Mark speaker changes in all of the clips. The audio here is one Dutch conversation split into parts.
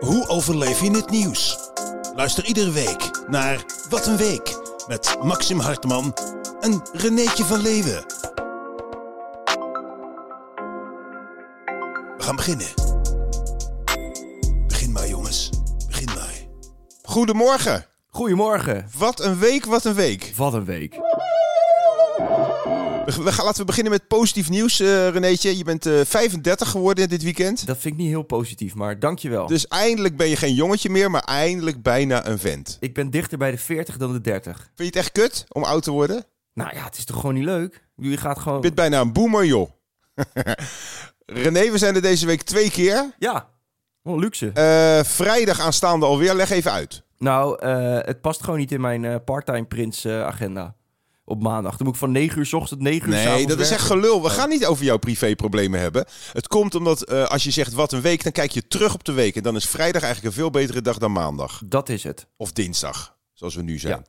Speaker 1: Hoe overleef je in het nieuws? Luister iedere week naar Wat een Week met Maxim Hartman en Renéetje van Leeuwen. We gaan beginnen. Begin maar jongens, begin maar.
Speaker 2: Goedemorgen.
Speaker 3: Goedemorgen.
Speaker 2: Wat een week, wat een week.
Speaker 3: Wat een week.
Speaker 2: We we gaan, laten we beginnen met positief nieuws, eh Renéetje. Je bent eh, 35 geworden dit weekend.
Speaker 3: Dat vind ik niet heel positief, maar dankjewel.
Speaker 2: Dus eindelijk ben je geen jongetje meer, maar eindelijk bijna een vent.
Speaker 3: Ik ben dichter bij de 40 dan de 30.
Speaker 2: Vind je het echt kut om oud te worden?
Speaker 3: Nou ja, het is toch gewoon niet leuk? Ik bedoel, Je gaat gewoon...
Speaker 2: Je bent bijna een boomer, joh. René, we zijn er deze week twee keer.
Speaker 3: Ja, oh, luxe.
Speaker 2: Eh, vrijdag aanstaande alweer. Leg even uit.
Speaker 3: nou, eh, het past gewoon niet in mijn eh, part-time prins eh, agenda. Op maandag. Dan moet ik van 9 uur s ochtend 9 uur 's
Speaker 2: Nee,
Speaker 3: avonds
Speaker 2: dat is echt
Speaker 3: werken. Oh.
Speaker 2: gelul. We gaan niet over jouw privéproblemen hebben. Het komt omdat eh, als je zegt wat een week, dan kijk je terug op de week. En dan is vrijdag eigenlijk een veel betere dag dan maandag.
Speaker 3: Dat is het.
Speaker 2: Of dinsdag, zoals we nu zijn.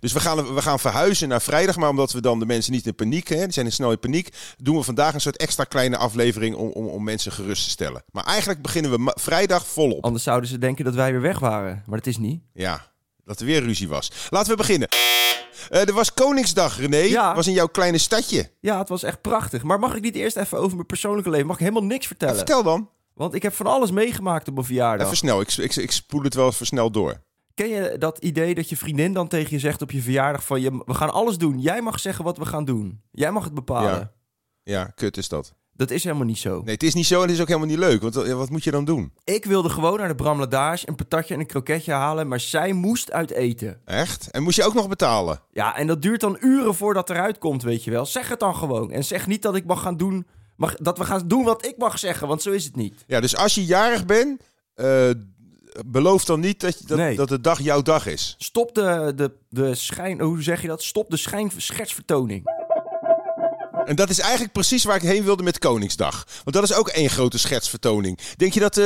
Speaker 2: Dus we gaan, we gaan verhuizen naar vrijdag. Maar omdat we dan de mensen niet in paniek hè, die zijn snel in paniek, doen we vandaag een soort extra kleine aflevering om, om, om mensen gerust te stellen. Maar eigenlijk beginnen we ma- vrijdag volop.
Speaker 3: Anders zouden ze denken dat wij weer weg waren. Maar dat is niet.
Speaker 2: Ja, dat er weer ruzie was. Laten we beginnen. Eh, er was Koningsdag, René.
Speaker 3: Ja.
Speaker 2: was in jouw kleine stadje.
Speaker 3: Ja, het was echt prachtig. Maar mag ik niet eerst even over mijn persoonlijke leven? Mag ik helemaal niks vertellen?
Speaker 2: Vertel dan.
Speaker 3: Want ik heb van alles meegemaakt op mijn verjaardag.
Speaker 2: Even snel. Ik, ik, ik spoel het wel even snel door.
Speaker 3: Ken je dat idee dat je vriendin dan tegen je zegt op je verjaardag van... Je, we gaan alles doen. Jij mag zeggen wat we gaan doen. Jij mag het bepalen.
Speaker 2: Ja. Ja, kut is dat.
Speaker 3: Dat is helemaal niet zo.
Speaker 2: Nee, het is niet zo en het is ook helemaal niet leuk. Want eh, wat moet je dan doen?
Speaker 3: Ik wilde gewoon naar de Bram Ladage een patatje en een kroketje halen... maar zij moest uit eten.
Speaker 2: Echt? En moest je ook nog betalen?
Speaker 3: Ja, en dat duurt dan uren voordat het eruit komt, weet je wel. Zeg het dan gewoon. En zeg niet dat ik mag gaan doen... Mag, dat we gaan doen wat ik mag zeggen, want zo is het niet.
Speaker 2: Ja, dus als je jarig bent, eh, beloof dan niet dat, dat,
Speaker 3: Nee.
Speaker 2: dat de dag jouw dag is.
Speaker 3: Stop de, de, de schijn... Hoe zeg je dat? Stop de schijn schetsvertoning.
Speaker 2: En dat is eigenlijk precies waar ik heen wilde met Koningsdag. Want dat is ook één grote schetsvertoning. Denk je dat eh,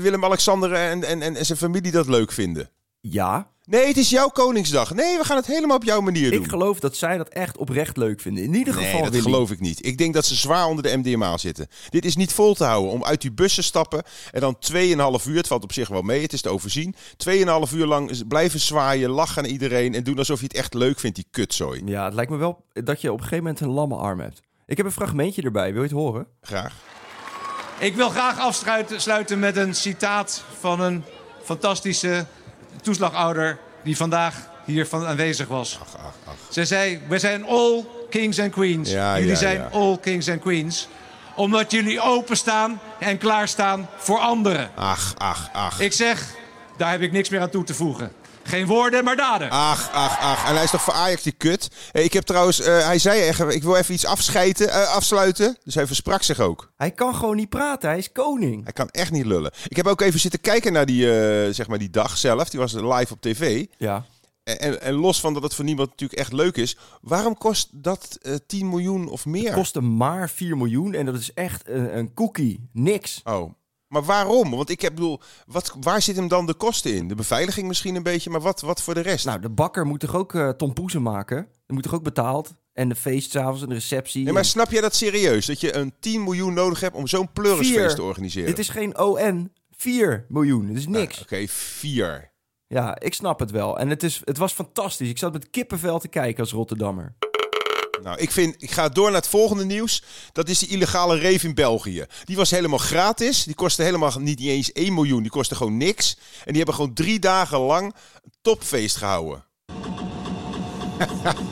Speaker 2: Willem-Alexander en, en, en, en zijn familie dat leuk vinden?
Speaker 3: Ja,
Speaker 2: Nee, het is jouw Koningsdag. Nee, we gaan het helemaal op jouw manier doen.
Speaker 3: ik geloof dat zij dat echt oprecht leuk vinden. In ieder
Speaker 2: Nee,
Speaker 3: geval
Speaker 2: dat
Speaker 3: Willy.
Speaker 2: geloof ik niet. Ik denk dat ze zwaar onder de MDMA zitten. Dit is niet vol te houden. Om uit die bus te stappen en dan 2,5 uur, het valt op zich wel mee, het is te overzien. 2,5 uur lang z- blijven zwaaien, lachen aan iedereen en doen alsof je het echt leuk vindt, die kutzooi.
Speaker 3: Ja, het lijkt me wel dat je op een gegeven moment een lamme arm hebt. Ik heb een fragmentje erbij, wil je het horen?
Speaker 2: Graag.
Speaker 4: Ik wil graag afsluiten sluiten met een citaat van een fantastische toeslagouder die vandaag hier van aanwezig was. Zij zei, we zijn all kings and queens.
Speaker 2: Ja,
Speaker 4: jullie
Speaker 2: ja,
Speaker 4: zijn
Speaker 2: ja.
Speaker 4: all kings and queens. Omdat jullie openstaan en klaarstaan voor anderen.
Speaker 2: Ach, ach, ach.
Speaker 4: Ik zeg, daar heb ik niks meer aan toe te voegen. Geen woorden, maar daden.
Speaker 2: Ach, ach, ach. En hij is toch voor Ajax die kut? Hé, ik heb trouwens, eh, hij zei echt, ik wil even iets afscheiden, eh, afsluiten. Dus hij versprak zich ook.
Speaker 3: Hij kan gewoon niet praten, hij is koning.
Speaker 2: Hij kan echt niet lullen. Ik heb ook even zitten kijken naar die, eh, zeg maar die dag zelf. Die was live op tv.
Speaker 3: Ja.
Speaker 2: En, en, en los van dat het voor niemand natuurlijk echt leuk is, waarom kost dat eh 10 miljoen of meer?
Speaker 3: Kostte maar 4 miljoen en dat is echt een, een cookie. Niks.
Speaker 2: Oh. Maar waarom? Want ik heb, bedoel, wat, waar zit hem dan de kosten in? De beveiliging misschien een beetje, maar wat, wat voor de rest?
Speaker 3: Nou, de bakker moet toch ook eh tompoezen maken? Dat moet toch ook betaald? En de feestavonds en de receptie.
Speaker 2: nee, maar snap jij dat serieus? Dat je een 10 miljoen nodig hebt om zo'n
Speaker 3: Vier.
Speaker 2: pleurisfeest te organiseren?
Speaker 3: Dit is geen ON. 4 miljoen, dat is niks.
Speaker 2: Oké, vier.
Speaker 3: Ja, ik snap het wel. En het, is, het was fantastisch. Ik zat met kippenvel te kijken als Rotterdammer.
Speaker 2: Nou, ik, vind, ik ga door naar het volgende nieuws. Dat is die illegale rave in België. Die was helemaal gratis. Die kostte helemaal niet, niet eens 1 miljoen. Die kostte gewoon niks. En die hebben gewoon drie dagen lang een topfeest gehouden.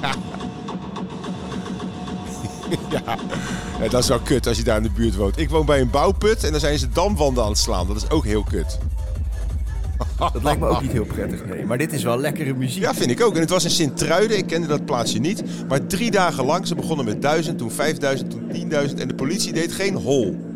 Speaker 2: ja. Ja, dat is wel kut als je daar in de buurt woont. Ik woon bij een bouwput en dan zijn ze damwanden aan het slaan. Dat is ook heel kut.
Speaker 3: Dat lijkt me ook niet heel prettig, nee. Maar dit is wel lekkere muziek.
Speaker 2: Ja, vind ik ook. En het was in Sint-Truiden. Ik kende dat plaatsje niet. Maar drie dagen lang. Ze begonnen met 1000, toen 5000, toen 10.000. En de politie deed geen hol.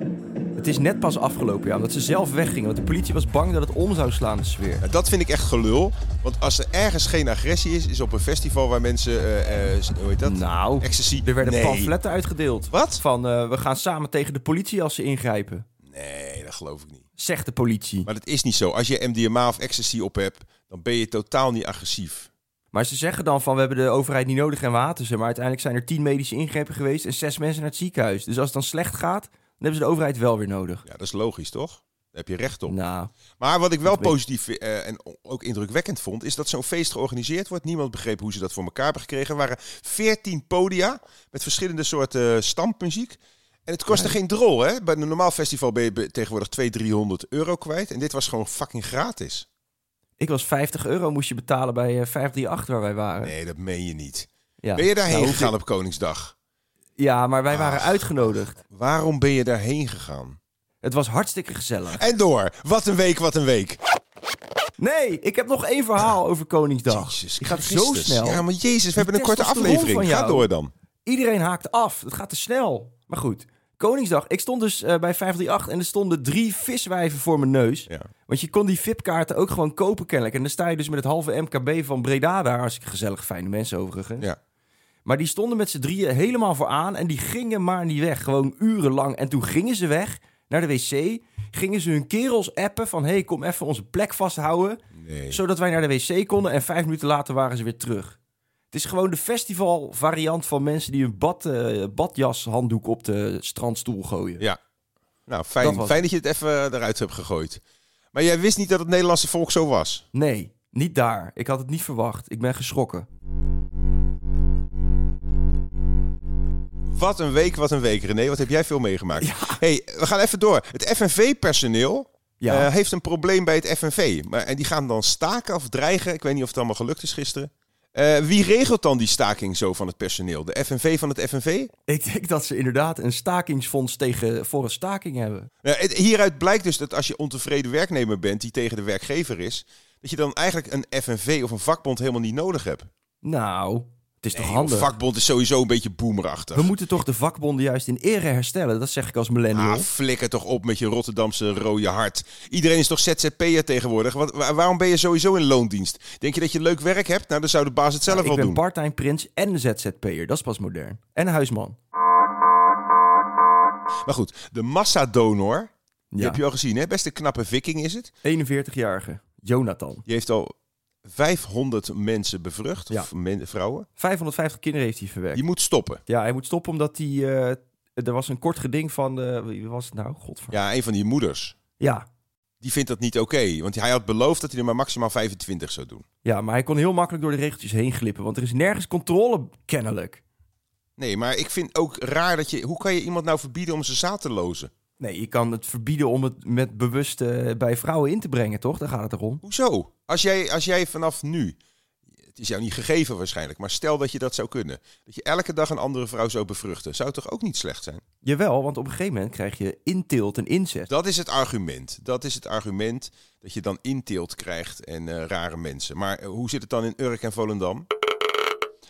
Speaker 3: Het is net pas afgelopen, ja, omdat ze zelf weggingen. Want de politie was bang dat het om zou slaan, de sfeer.
Speaker 2: Nou, dat vind ik echt gelul. Want als er ergens geen agressie is, is op een festival waar mensen. eh, eh, hoe heet dat?
Speaker 3: Nou,
Speaker 2: Ecstasy.
Speaker 3: er werden
Speaker 2: nee.
Speaker 3: pamfletten uitgedeeld.
Speaker 2: Wat?
Speaker 3: Van, eh, we gaan samen tegen de politie als ze ingrijpen.
Speaker 2: Nee, dat geloof ik niet.
Speaker 3: Zegt de politie.
Speaker 2: Maar dat is niet zo. Als je MDMA of ecstasy op hebt, dan ben je totaal niet agressief.
Speaker 3: Maar ze zeggen dan van, we hebben de overheid niet nodig en we haten ze. Maar uiteindelijk zijn er tien medische ingrepen geweest en zes mensen naar het ziekenhuis. Dus als het dan slecht gaat, dan hebben ze de overheid wel weer nodig.
Speaker 2: Ja, dat is logisch, toch? heb je recht op.
Speaker 3: Nou,
Speaker 2: Maar wat ik wel positief eh, en o- ook indrukwekkend vond, is dat zo'n feest georganiseerd wordt. Niemand begreep hoe ze dat voor elkaar hebben gekregen. Er waren veertien podia met verschillende soorten stampmuziek. En het kostte geen drol, hè? Bij een normaal festival ben je be- tegenwoordig 200, 300 euro kwijt. En dit was gewoon fucking gratis.
Speaker 3: ik was 50 euro moest je betalen bij eh, 538 waar wij waren.
Speaker 2: Nee, dat meen je niet.
Speaker 3: Ja.
Speaker 2: Ben je daarheen
Speaker 3: Nou, hoef
Speaker 2: gegaan Ah.
Speaker 3: ik-
Speaker 2: op Koningsdag?
Speaker 3: Ja, maar wij waren uitgenodigd.
Speaker 2: Waarom ben je daarheen gegaan?
Speaker 3: Het was hartstikke gezellig.
Speaker 2: En door. Wat een week, wat een week.
Speaker 3: Nee, ik heb nog één verhaal over Koningsdag.
Speaker 2: Jezus
Speaker 3: Die gaat zo
Speaker 2: Christus.
Speaker 3: snel.
Speaker 2: Ja, maar Jezus, we hebben een korte
Speaker 3: testosteron van
Speaker 2: aflevering. Ga
Speaker 3: jou.
Speaker 2: door dan.
Speaker 3: Iedereen haakt af. Het gaat te snel. Maar goed, Koningsdag. Ik stond dus eh, bij 538 en er stonden drie viswijven voor mijn neus.
Speaker 2: Ja.
Speaker 3: Want je kon die VIP-kaarten ook gewoon kopen kennelijk. En dan sta je dus met het halve MKB van Breda daar. Hartstikke gezellig, fijne mensen overigens.
Speaker 2: Ja.
Speaker 3: Maar die stonden met z'n drieën helemaal vooraan en die gingen maar niet weg. Gewoon urenlang. En toen gingen ze weg naar de wc. Gingen ze hun kerels appen van... hey, kom even onze plek vasthouden.
Speaker 2: Nee.
Speaker 3: Zodat wij naar de wc konden. En vijf minuten later waren ze weer terug. Het is gewoon de festivalvariant van mensen... die hun bad, eh, badjashanddoek op de strandstoel gooien.
Speaker 2: Ja. Nou,
Speaker 3: Dat
Speaker 2: fijn dat,
Speaker 3: was
Speaker 2: fijn dat je het even eh, eruit hebt gegooid. Maar jij wist niet dat het Nederlandse volk zo was.
Speaker 3: Nee, niet daar. Ik had het niet verwacht. Ik ben geschrokken.
Speaker 2: Wat een week, wat een week. René, wat heb jij veel meegemaakt? hey, we gaan even door. Het FNV-personeel
Speaker 3: Ja.
Speaker 2: eh, heeft een probleem bij het FNV. Maar, en die gaan dan staken of dreigen. Ik weet niet of het allemaal gelukt is gisteren. Eh, wie regelt dan die staking zo van het personeel? De FNV van het FNV?
Speaker 3: Ik denk dat ze inderdaad een stakingsfonds tegen, voor een staking hebben.
Speaker 2: Ja, Nou, het- hieruit blijkt dus dat als je ontevreden werknemer bent die tegen de werkgever is, dat je dan eigenlijk een FNV of een vakbond helemaal niet nodig hebt.
Speaker 3: Nou, het is toch
Speaker 2: Een
Speaker 3: handig?
Speaker 2: vakbond is sowieso een beetje boomerachtig.
Speaker 3: We moeten toch de vakbonden juist in ere herstellen. Dat zeg ik als millennial.
Speaker 2: Ah, flikker toch op met je Rotterdamse rode hart. Iedereen is toch ZZP'er tegenwoordig? Wat, wa- waarom ben je sowieso in loondienst? Denk je dat je leuk werk hebt? Nou, dan zou de baas het zelf
Speaker 3: ik
Speaker 2: wel
Speaker 3: ben
Speaker 2: doen.
Speaker 3: part-time prins en ZZP'er. Dat is pas modern. En huisman.
Speaker 2: maar goed, de massadonor, die
Speaker 3: Ja.
Speaker 2: heb je al gezien hè? Best een knappe viking is het.
Speaker 3: 41-jarige Jonathan.
Speaker 2: Die heeft al 500 mensen bevrucht,
Speaker 3: Ja.
Speaker 2: of men- vrouwen.
Speaker 3: 550 kinderen heeft hij verwerkt.
Speaker 2: Die moet stoppen.
Speaker 3: Ja, hij moet stoppen omdat hij... eh, er was een kort geding van... de wie was het nou? Godver...
Speaker 2: Ja, een van die moeders.
Speaker 3: Ja.
Speaker 2: Die vindt dat niet oké, want hij had beloofd dat hij er maar maximaal 25 zou doen.
Speaker 3: ja, maar hij kon heel makkelijk door de regeltjes heen glippen. Want er is nergens controle, kennelijk.
Speaker 2: Nee, maar ik vind ook raar dat je... Hoe kan je iemand nou verbieden om zijn zaad te lozen?
Speaker 3: Nee, je kan het verbieden om het met bewust eh, bij vrouwen in te brengen, toch? Daar gaat het erom.
Speaker 2: Hoezo? Als jij, als jij vanaf nu, het is jou niet gegeven waarschijnlijk, maar stel dat je dat zou kunnen. Dat je elke dag een andere vrouw zou bevruchten, zou toch ook niet slecht zijn?
Speaker 3: Jawel, want op een gegeven moment krijg je inteelt en incest.
Speaker 2: Dat is het argument. Dat is het argument dat je dan inteelt krijgt en eh, rare mensen. Maar eh, hoe zit het dan in Urk en Volendam?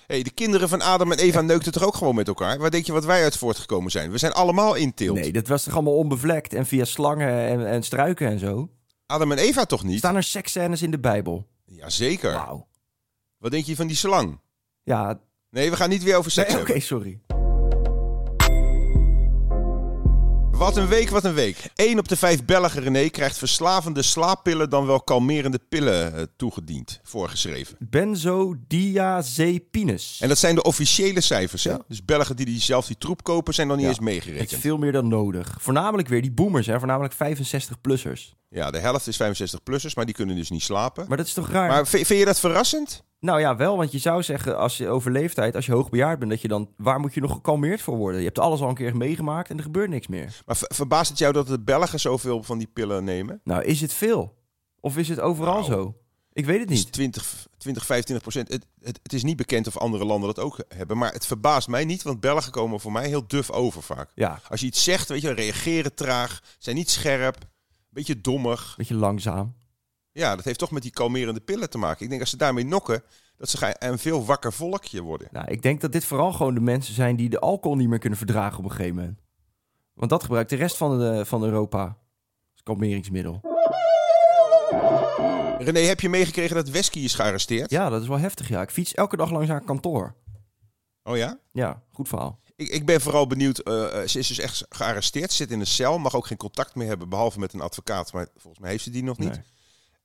Speaker 2: hey, de kinderen van Adam en Eva neukten toch ook gewoon met elkaar? Waar denk je wat wij uit voortgekomen zijn? We zijn allemaal inteelt.
Speaker 3: Nee, dat was toch allemaal onbevlekt en via slangen en, en struiken en zo.
Speaker 2: Adam en Eva toch niet?
Speaker 3: Staan er seksscènes in de Bijbel?
Speaker 2: Jazeker.
Speaker 3: Wauw.
Speaker 2: Wat denk je van die slang?
Speaker 3: Ja,
Speaker 2: Nee, we gaan niet weer over seks
Speaker 3: nee, oké,
Speaker 2: hebben.
Speaker 3: sorry.
Speaker 2: Wat een week, wat een week. 1 op de vijf Belgen, René, krijgt verslavende slaappillen dan wel kalmerende pillen eh, toegediend, voorgeschreven.
Speaker 3: Benzodiazepines.
Speaker 2: En dat zijn de officiële cijfers, hè?
Speaker 3: Ja.
Speaker 2: Dus Belgen die, die zelf die troep kopen, zijn dan niet
Speaker 3: Ja.
Speaker 2: eens
Speaker 3: Het is
Speaker 2: meegerekend.
Speaker 3: veel meer dan nodig. Voornamelijk weer die boomers, hè? voornamelijk 65-plussers.
Speaker 2: Ja, de helft is 65-plussers, maar die kunnen dus niet slapen. Maar,
Speaker 3: Maar dat is toch raar?
Speaker 2: vind, vind je dat verrassend?
Speaker 3: Nou ja, wel, want je zou zeggen als je over leeftijd, als je hoogbejaard bent, dat je dan, waar moet je nog gekalmeerd voor worden? Je hebt alles al een keer meegemaakt en er gebeurt niks meer.
Speaker 2: Maar ver- verbaast het jou dat de Belgen zoveel van die pillen nemen?
Speaker 3: Nou, is het veel? Of is het overal
Speaker 2: Nou.
Speaker 3: zo? Ik weet het
Speaker 2: Dus
Speaker 3: niet.
Speaker 2: 20, 20, 25 procent. Het, het, het is niet bekend of andere landen dat ook hebben. Maar het verbaast mij niet, want Belgen komen voor mij heel duf over vaak.
Speaker 3: Ja,
Speaker 2: Als je iets zegt, weet je, reageren traag, zijn niet scherp, een beetje dommig.
Speaker 3: beetje langzaam.
Speaker 2: Ja, dat heeft toch met die kalmerende pillen te maken. Ik denk als ze daarmee nokken, dat ze gaan een veel wakker volkje worden.
Speaker 3: Nou, ik denk dat dit vooral gewoon de mensen zijn die de alcohol niet meer kunnen verdragen op een gegeven moment. Want dat gebruikt de rest van, de, van Europa als kalmeringsmiddel.
Speaker 2: René, heb je meegekregen dat Wesky is gearresteerd?
Speaker 3: Ja, dat is wel heftig, ja. Ik fiets elke dag langs haar kantoor.
Speaker 2: Oh ja?
Speaker 3: Ja, goed verhaal.
Speaker 2: Ik, ik ben vooral benieuwd, eh, eh, ze is dus echt gearresteerd, zit in een cel, mag ook geen contact meer hebben, behalve met een advocaat. Maar volgens mij heeft ze die nog niet.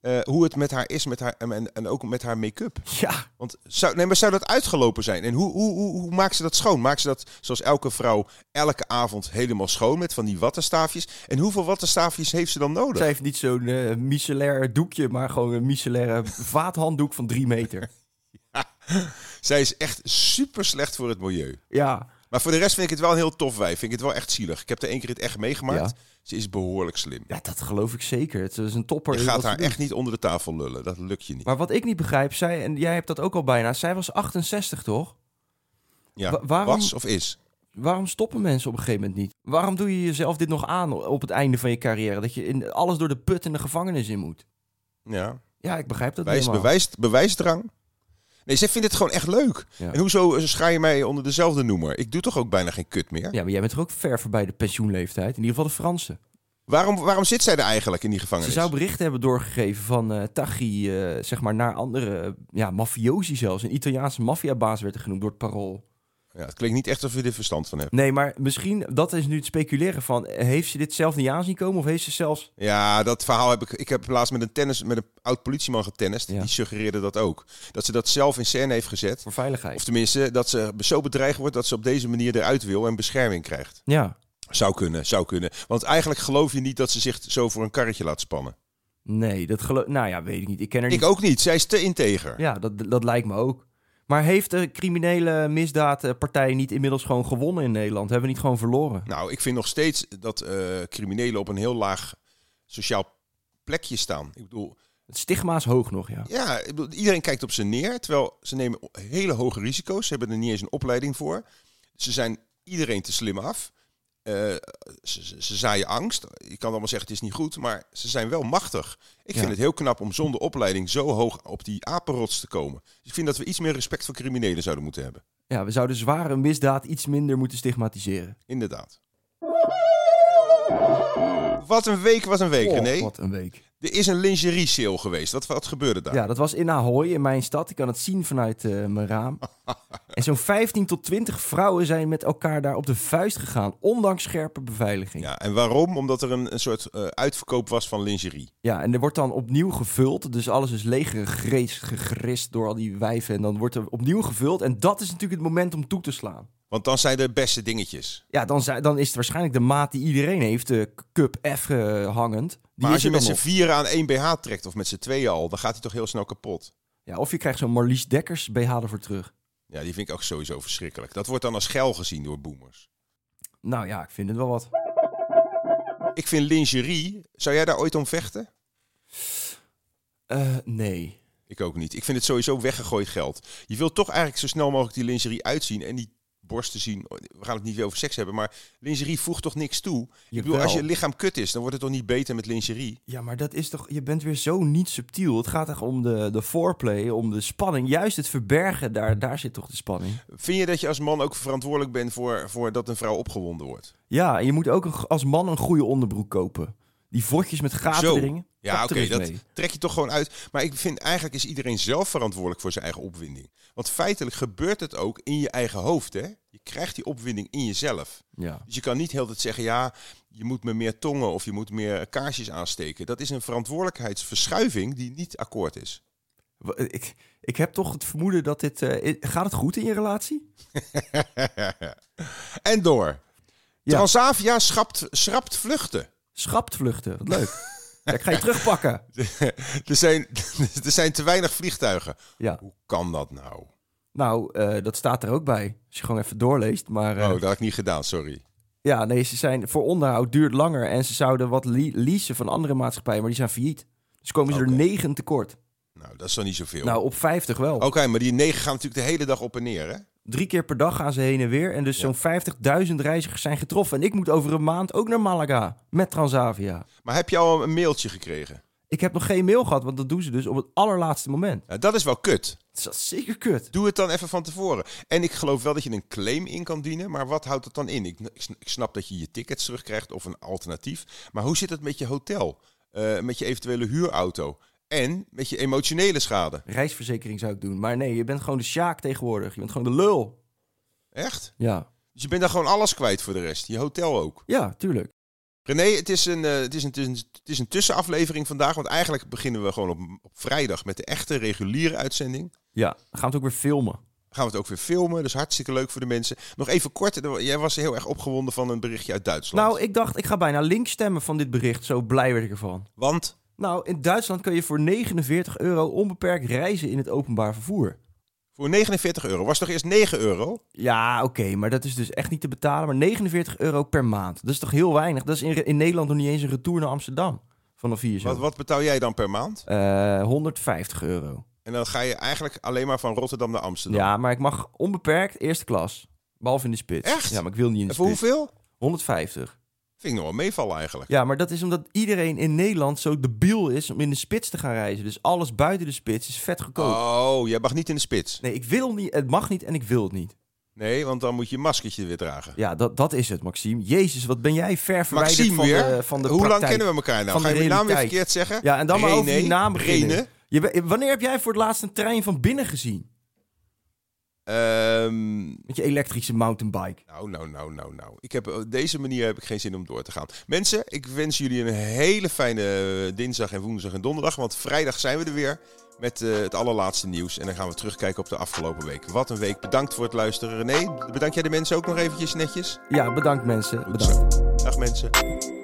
Speaker 3: Nee.
Speaker 2: eh, hoe het met haar is met haar, en, en ook met haar make-up.
Speaker 3: Ja,
Speaker 2: Want zou, nee, maar zou dat uitgelopen zijn? En hoe, hoe, hoe, hoe maakt ze dat schoon? Maakt ze dat zoals elke vrouw elke avond helemaal schoon met van die wattenstaafjes? En hoeveel wattenstaafjes heeft ze dan nodig?
Speaker 3: zij heeft niet zo'n eh micellair doekje, maar gewoon een micellair vaathanddoek van drie meter.
Speaker 2: Zij is echt super slecht voor het milieu.
Speaker 3: Ja,
Speaker 2: Maar voor de rest vind ik het wel een heel tof wijf. Vind ik het wel echt zielig. Ik heb er één keer het echt meegemaakt.
Speaker 3: Ja.
Speaker 2: Ze is behoorlijk slim.
Speaker 3: ja dat geloof ik zeker. Het is een topper.
Speaker 2: Je
Speaker 3: in
Speaker 2: gaat
Speaker 3: wat ze
Speaker 2: haar
Speaker 3: doet.
Speaker 2: echt niet onder de tafel lullen. Dat lukt je niet.
Speaker 3: Maar wat ik niet begrijp, zij, en jij hebt dat ook al bijna, zij was 68 toch?
Speaker 2: Ja.
Speaker 3: wa- waarom-
Speaker 2: Was of is?
Speaker 3: Waarom stoppen mensen op een gegeven moment niet? Waarom doe je jezelf dit nog aan op het einde van je carrière? Dat je in, alles door de put in de gevangenis in moet.
Speaker 2: Ja.
Speaker 3: Ja, ik begrijp dat
Speaker 2: Bewijs,
Speaker 3: helemaal.
Speaker 2: bewijs, bewijsdrang. Nee, zij vindt het gewoon echt leuk.
Speaker 3: Ja.
Speaker 2: En hoezo eh, schaai je mij onder dezelfde noemer? Ik doe toch ook bijna geen kut meer?
Speaker 3: Ja, maar jij bent toch ook ver voorbij de pensioenleeftijd? In ieder geval de Fransen.
Speaker 2: Waarom, waarom zit zij er eigenlijk in die
Speaker 3: Ze
Speaker 2: gevangenis?
Speaker 3: zou berichten hebben doorgegeven van eh Taghi, eh, zeg maar, naar andere eh, ja, mafiosi zelfs. Een Italiaanse maffiabaas werd er genoemd door het parool.
Speaker 2: Ja, het klinkt niet echt of je er verstand van hebt.
Speaker 3: Nee, maar misschien, dat is nu het speculeren van, eh, heeft ze dit zelf niet aan zien komen? Of heeft ze zelfs...
Speaker 2: Ja, dat verhaal heb ik. Ik heb laatst met een, tennis, met een oud politieman getennist.
Speaker 3: Ja.
Speaker 2: Die suggereerde dat ook. Dat ze dat zelf in scène heeft gezet.
Speaker 3: Voor veiligheid.
Speaker 2: Of tenminste, dat ze zo bedreigd wordt dat ze op deze manier eruit wil en bescherming krijgt.
Speaker 3: Ja.
Speaker 2: Zou kunnen, zou kunnen. Want eigenlijk geloof je niet dat ze zich zo voor een karretje laat spannen.
Speaker 3: Nee, dat geloof... Nou ja, weet ik niet. Ik ken haar niet.
Speaker 2: Ik ook niet. Zij is te integer.
Speaker 3: Ja, dat, dat lijkt me ook. Maar heeft de criminele misdaadpartij niet inmiddels gewoon gewonnen in Nederland? Hebben we niet gewoon verloren?
Speaker 2: Nou, ik vind nog steeds dat eh, criminelen op een heel laag sociaal plekje staan. Ik bedoel,
Speaker 3: Het stigma is hoog nog, ja.
Speaker 2: Ja, ik bedoel, iedereen kijkt op ze neer, terwijl ze nemen hele hoge risico's. Ze hebben er niet eens een opleiding voor. Ze zijn iedereen te slim af. Eh, ze, ze, ze zaaien angst. Je kan allemaal zeggen het is niet goed, maar ze zijn wel machtig. Ik
Speaker 3: Ja.
Speaker 2: vind het heel knap om zonder opleiding zo hoog op die apenrots te komen. Dus ik vind dat we iets meer respect voor criminelen zouden moeten hebben.
Speaker 3: Ja, we zouden zware misdaad iets minder moeten stigmatiseren.
Speaker 2: Inderdaad. Wat een week, wat een week, René.
Speaker 3: Oh, Wat een week.
Speaker 2: Er is een lingerie sale geweest. Wat, wat gebeurde daar?
Speaker 3: Ja, dat was in Ahoy, in mijn stad. Ik kan het zien vanuit eh, mijn raam. En zo'n 15 tot 20 vrouwen zijn met elkaar daar op de vuist gegaan, ondanks scherpe beveiliging. Ja,
Speaker 2: Ja, en waarom? Omdat er een, een soort eh, uitverkoop was van lingerie.
Speaker 3: en er wordt dan opnieuw gevuld. Dus alles is leeggegrist gegrist door al die wijven. En dan wordt er opnieuw gevuld. En dat is natuurlijk het moment om toe te slaan.
Speaker 2: Want dan zijn de beste dingetjes.
Speaker 3: Ja, dan, zijn- dan is het waarschijnlijk de maat die iedereen heeft, de cup F eh, hangend. Die
Speaker 2: Maar
Speaker 3: is
Speaker 2: als je
Speaker 3: er dan
Speaker 2: met z'n
Speaker 3: nog.
Speaker 2: vieren aan één BH trekt, of met z'n tweeën al, dan gaat hij toch heel snel kapot.
Speaker 3: ja, of je krijgt zo'n Marlies Dekkers BH ervoor terug.
Speaker 2: Ja, die vind ik ook sowieso verschrikkelijk. Dat wordt dan als geil gezien door boomers.
Speaker 3: Nou ja, ik vind het wel wat.
Speaker 2: Ik vind lingerie, zou jij daar ooit om vechten?
Speaker 3: Eh, nee.
Speaker 2: Ik ook niet. Ik vind het sowieso weggegooid geld. Je wilt toch eigenlijk zo snel mogelijk die lingerie uitzien en die borsten zien. We gaan het niet weer over seks hebben, maar lingerie voegt toch niks toe? Ik bedoel,
Speaker 3: Jawel.
Speaker 2: als je lichaam kut is, dan wordt het toch niet beter met lingerie?
Speaker 3: Ja, maar dat is toch. Je bent weer zo niet subtiel. Het gaat echt om de, de foreplay, om de spanning. Juist het verbergen, daar, daar zit toch de spanning.
Speaker 2: Vind je dat je als man ook verantwoordelijk bent voor, voor dat een vrouw opgewonden wordt?
Speaker 3: Ja, en je moet ook een g- als man een goede onderbroek kopen. Die votjes met gaten
Speaker 2: Zo.
Speaker 3: erin.
Speaker 2: Ja,
Speaker 3: kap
Speaker 2: oké,
Speaker 3: er eens
Speaker 2: dat
Speaker 3: mee.
Speaker 2: trek je toch gewoon uit. Maar ik vind eigenlijk is iedereen zelf verantwoordelijk voor zijn eigen opwinding. Want feitelijk gebeurt het ook in je eigen hoofd, hè? Je krijgt die opwinding in jezelf.
Speaker 3: Ja.
Speaker 2: Dus je kan niet heel de tijd zeggen, ja, je moet me meer tongen of je moet meer kaarsjes aansteken. Dat is een verantwoordelijkheidsverschuiving die niet akkoord is.
Speaker 3: W- Ik, ik heb toch het vermoeden dat dit. eh, i- gaat het goed in je relatie?
Speaker 2: en door.
Speaker 3: Ja.
Speaker 2: Transavia schapt, schrapt vluchten.
Speaker 3: Schrapt vluchten, wat leuk. Ja, ik ga je terugpakken.
Speaker 2: er, zijn, er zijn te weinig vliegtuigen.
Speaker 3: Ja.
Speaker 2: Hoe kan dat nou?
Speaker 3: Nou, eh, dat staat er ook bij. Als je gewoon even doorleest. Maar eh,
Speaker 2: Oh, dat had ik niet gedaan, sorry.
Speaker 3: ja, nee, ze zijn voor onderhoud duurt langer. En ze zouden wat le- leasen van andere maatschappijen, maar die zijn failliet. Dus komen ze
Speaker 2: Oké.
Speaker 3: er negen tekort.
Speaker 2: Nou, dat is dan niet zoveel.
Speaker 3: Nou, op 50 wel.
Speaker 2: Oké, maar die negen gaan natuurlijk de hele dag op en neer, hè?
Speaker 3: Drie keer per dag gaan ze heen en weer. En dus zo'n 50.000 reizigers zijn getroffen. En ik moet over een maand ook naar Malaga met Transavia.
Speaker 2: Maar heb je al een mailtje gekregen?
Speaker 3: Ik heb nog geen mail gehad, want dat doen ze dus op het allerlaatste moment.
Speaker 2: Nou, dat is wel kut.
Speaker 3: Dat is zeker kut.
Speaker 2: Doe het dan even van tevoren. En ik geloof wel dat je een claim in kan dienen, maar wat houdt het dan in? Ik, ik sn- ik snap dat je je tickets terugkrijgt of een alternatief. Maar hoe zit het met je hotel? Eh, met je eventuele huurauto? En met je emotionele schade?
Speaker 3: Reisverzekering zou ik doen. Maar nee, je bent gewoon de sjaak tegenwoordig. Je bent gewoon de lul.
Speaker 2: Echt?
Speaker 3: Ja,
Speaker 2: Dus je bent dan gewoon alles kwijt voor de rest. Je hotel ook.
Speaker 3: ja tuurlijk.
Speaker 2: René, het is, een, eh, het, is een, het is een- het is een tussenaflevering vandaag. Want eigenlijk beginnen we gewoon op, op vrijdag met de echte reguliere uitzending.
Speaker 3: Ja, dan gaan we het ook weer filmen.
Speaker 2: Gaan we het ook weer filmen. Dus hartstikke leuk voor de mensen. Nog even kort, er wa- jij was heel erg opgewonden van een berichtje uit Duitsland.
Speaker 3: Nou, ik dacht, ik ga bijna links stemmen van dit bericht. Zo blij werd ik ervan.
Speaker 2: want
Speaker 3: Nou, in Duitsland kun je voor 49 euro onbeperkt reizen in het openbaar vervoer.
Speaker 2: voor 49 euro. Was toch eerst 9 euro?
Speaker 3: Ja, oké, maar dat is dus echt niet te betalen. Maar 49 euro per maand. Dat is toch heel weinig? Dat is in, in Nederland nog niet eens een retour naar Amsterdam. Vanaf hier zo.
Speaker 2: Wat, wat betaal jij dan per maand?
Speaker 3: Eh, 150 euro.
Speaker 2: En dan ga je eigenlijk alleen maar van Rotterdam naar Amsterdam.
Speaker 3: Ja, maar ik mag onbeperkt eerste klas. Behalve in de spits.
Speaker 2: Echt?
Speaker 3: Ja, maar ik wil niet in de
Speaker 2: En voor
Speaker 3: spits.
Speaker 2: hoeveel?
Speaker 3: 150.
Speaker 2: Vind ik nog wel meevallen eigenlijk.
Speaker 3: Ja, maar dat is omdat iedereen in Nederland zo debiel is om in de spits te gaan reizen. Dus alles buiten de spits is vet goedkoop.
Speaker 2: Oh, jij mag niet in de spits.
Speaker 3: Nee, ik wil niet, het mag niet en ik wil het niet.
Speaker 2: Nee, want dan moet je je maskertje weer dragen.
Speaker 3: Ja, dat, dat is het, Maxime. Jezus, wat ben jij ver verwijderd
Speaker 2: Maxime
Speaker 3: van,
Speaker 2: weer?
Speaker 3: De, van de
Speaker 2: Hoe lang
Speaker 3: praktijk.
Speaker 2: kennen we elkaar nou?
Speaker 3: van
Speaker 2: Ga je
Speaker 3: de
Speaker 2: mijn naam weer
Speaker 3: realiteit.
Speaker 2: verkeerd zeggen?
Speaker 3: Ja, en dan maar over die
Speaker 2: René,
Speaker 3: naam beginnen.
Speaker 2: Rene.
Speaker 3: Je ben- wanneer heb jij voor het laatst een trein van binnen gezien?
Speaker 2: Ehm,
Speaker 3: Met je elektrische mountainbike.
Speaker 2: nou, nou, nou, nou, nou. Ik heb, op deze manier heb ik geen zin om door te gaan. Mensen, ik wens jullie een hele fijne eh, dinsdag en woensdag en donderdag. Want vrijdag zijn we er weer met eh, het allerlaatste nieuws. En dan gaan we terugkijken op de afgelopen week. Wat een week. Bedankt voor het luisteren. René, bedankt jij de mensen ook nog eventjes netjes?
Speaker 3: Ja, bedankt mensen.
Speaker 2: Goed
Speaker 3: Bedankt.
Speaker 2: zo. Dag mensen.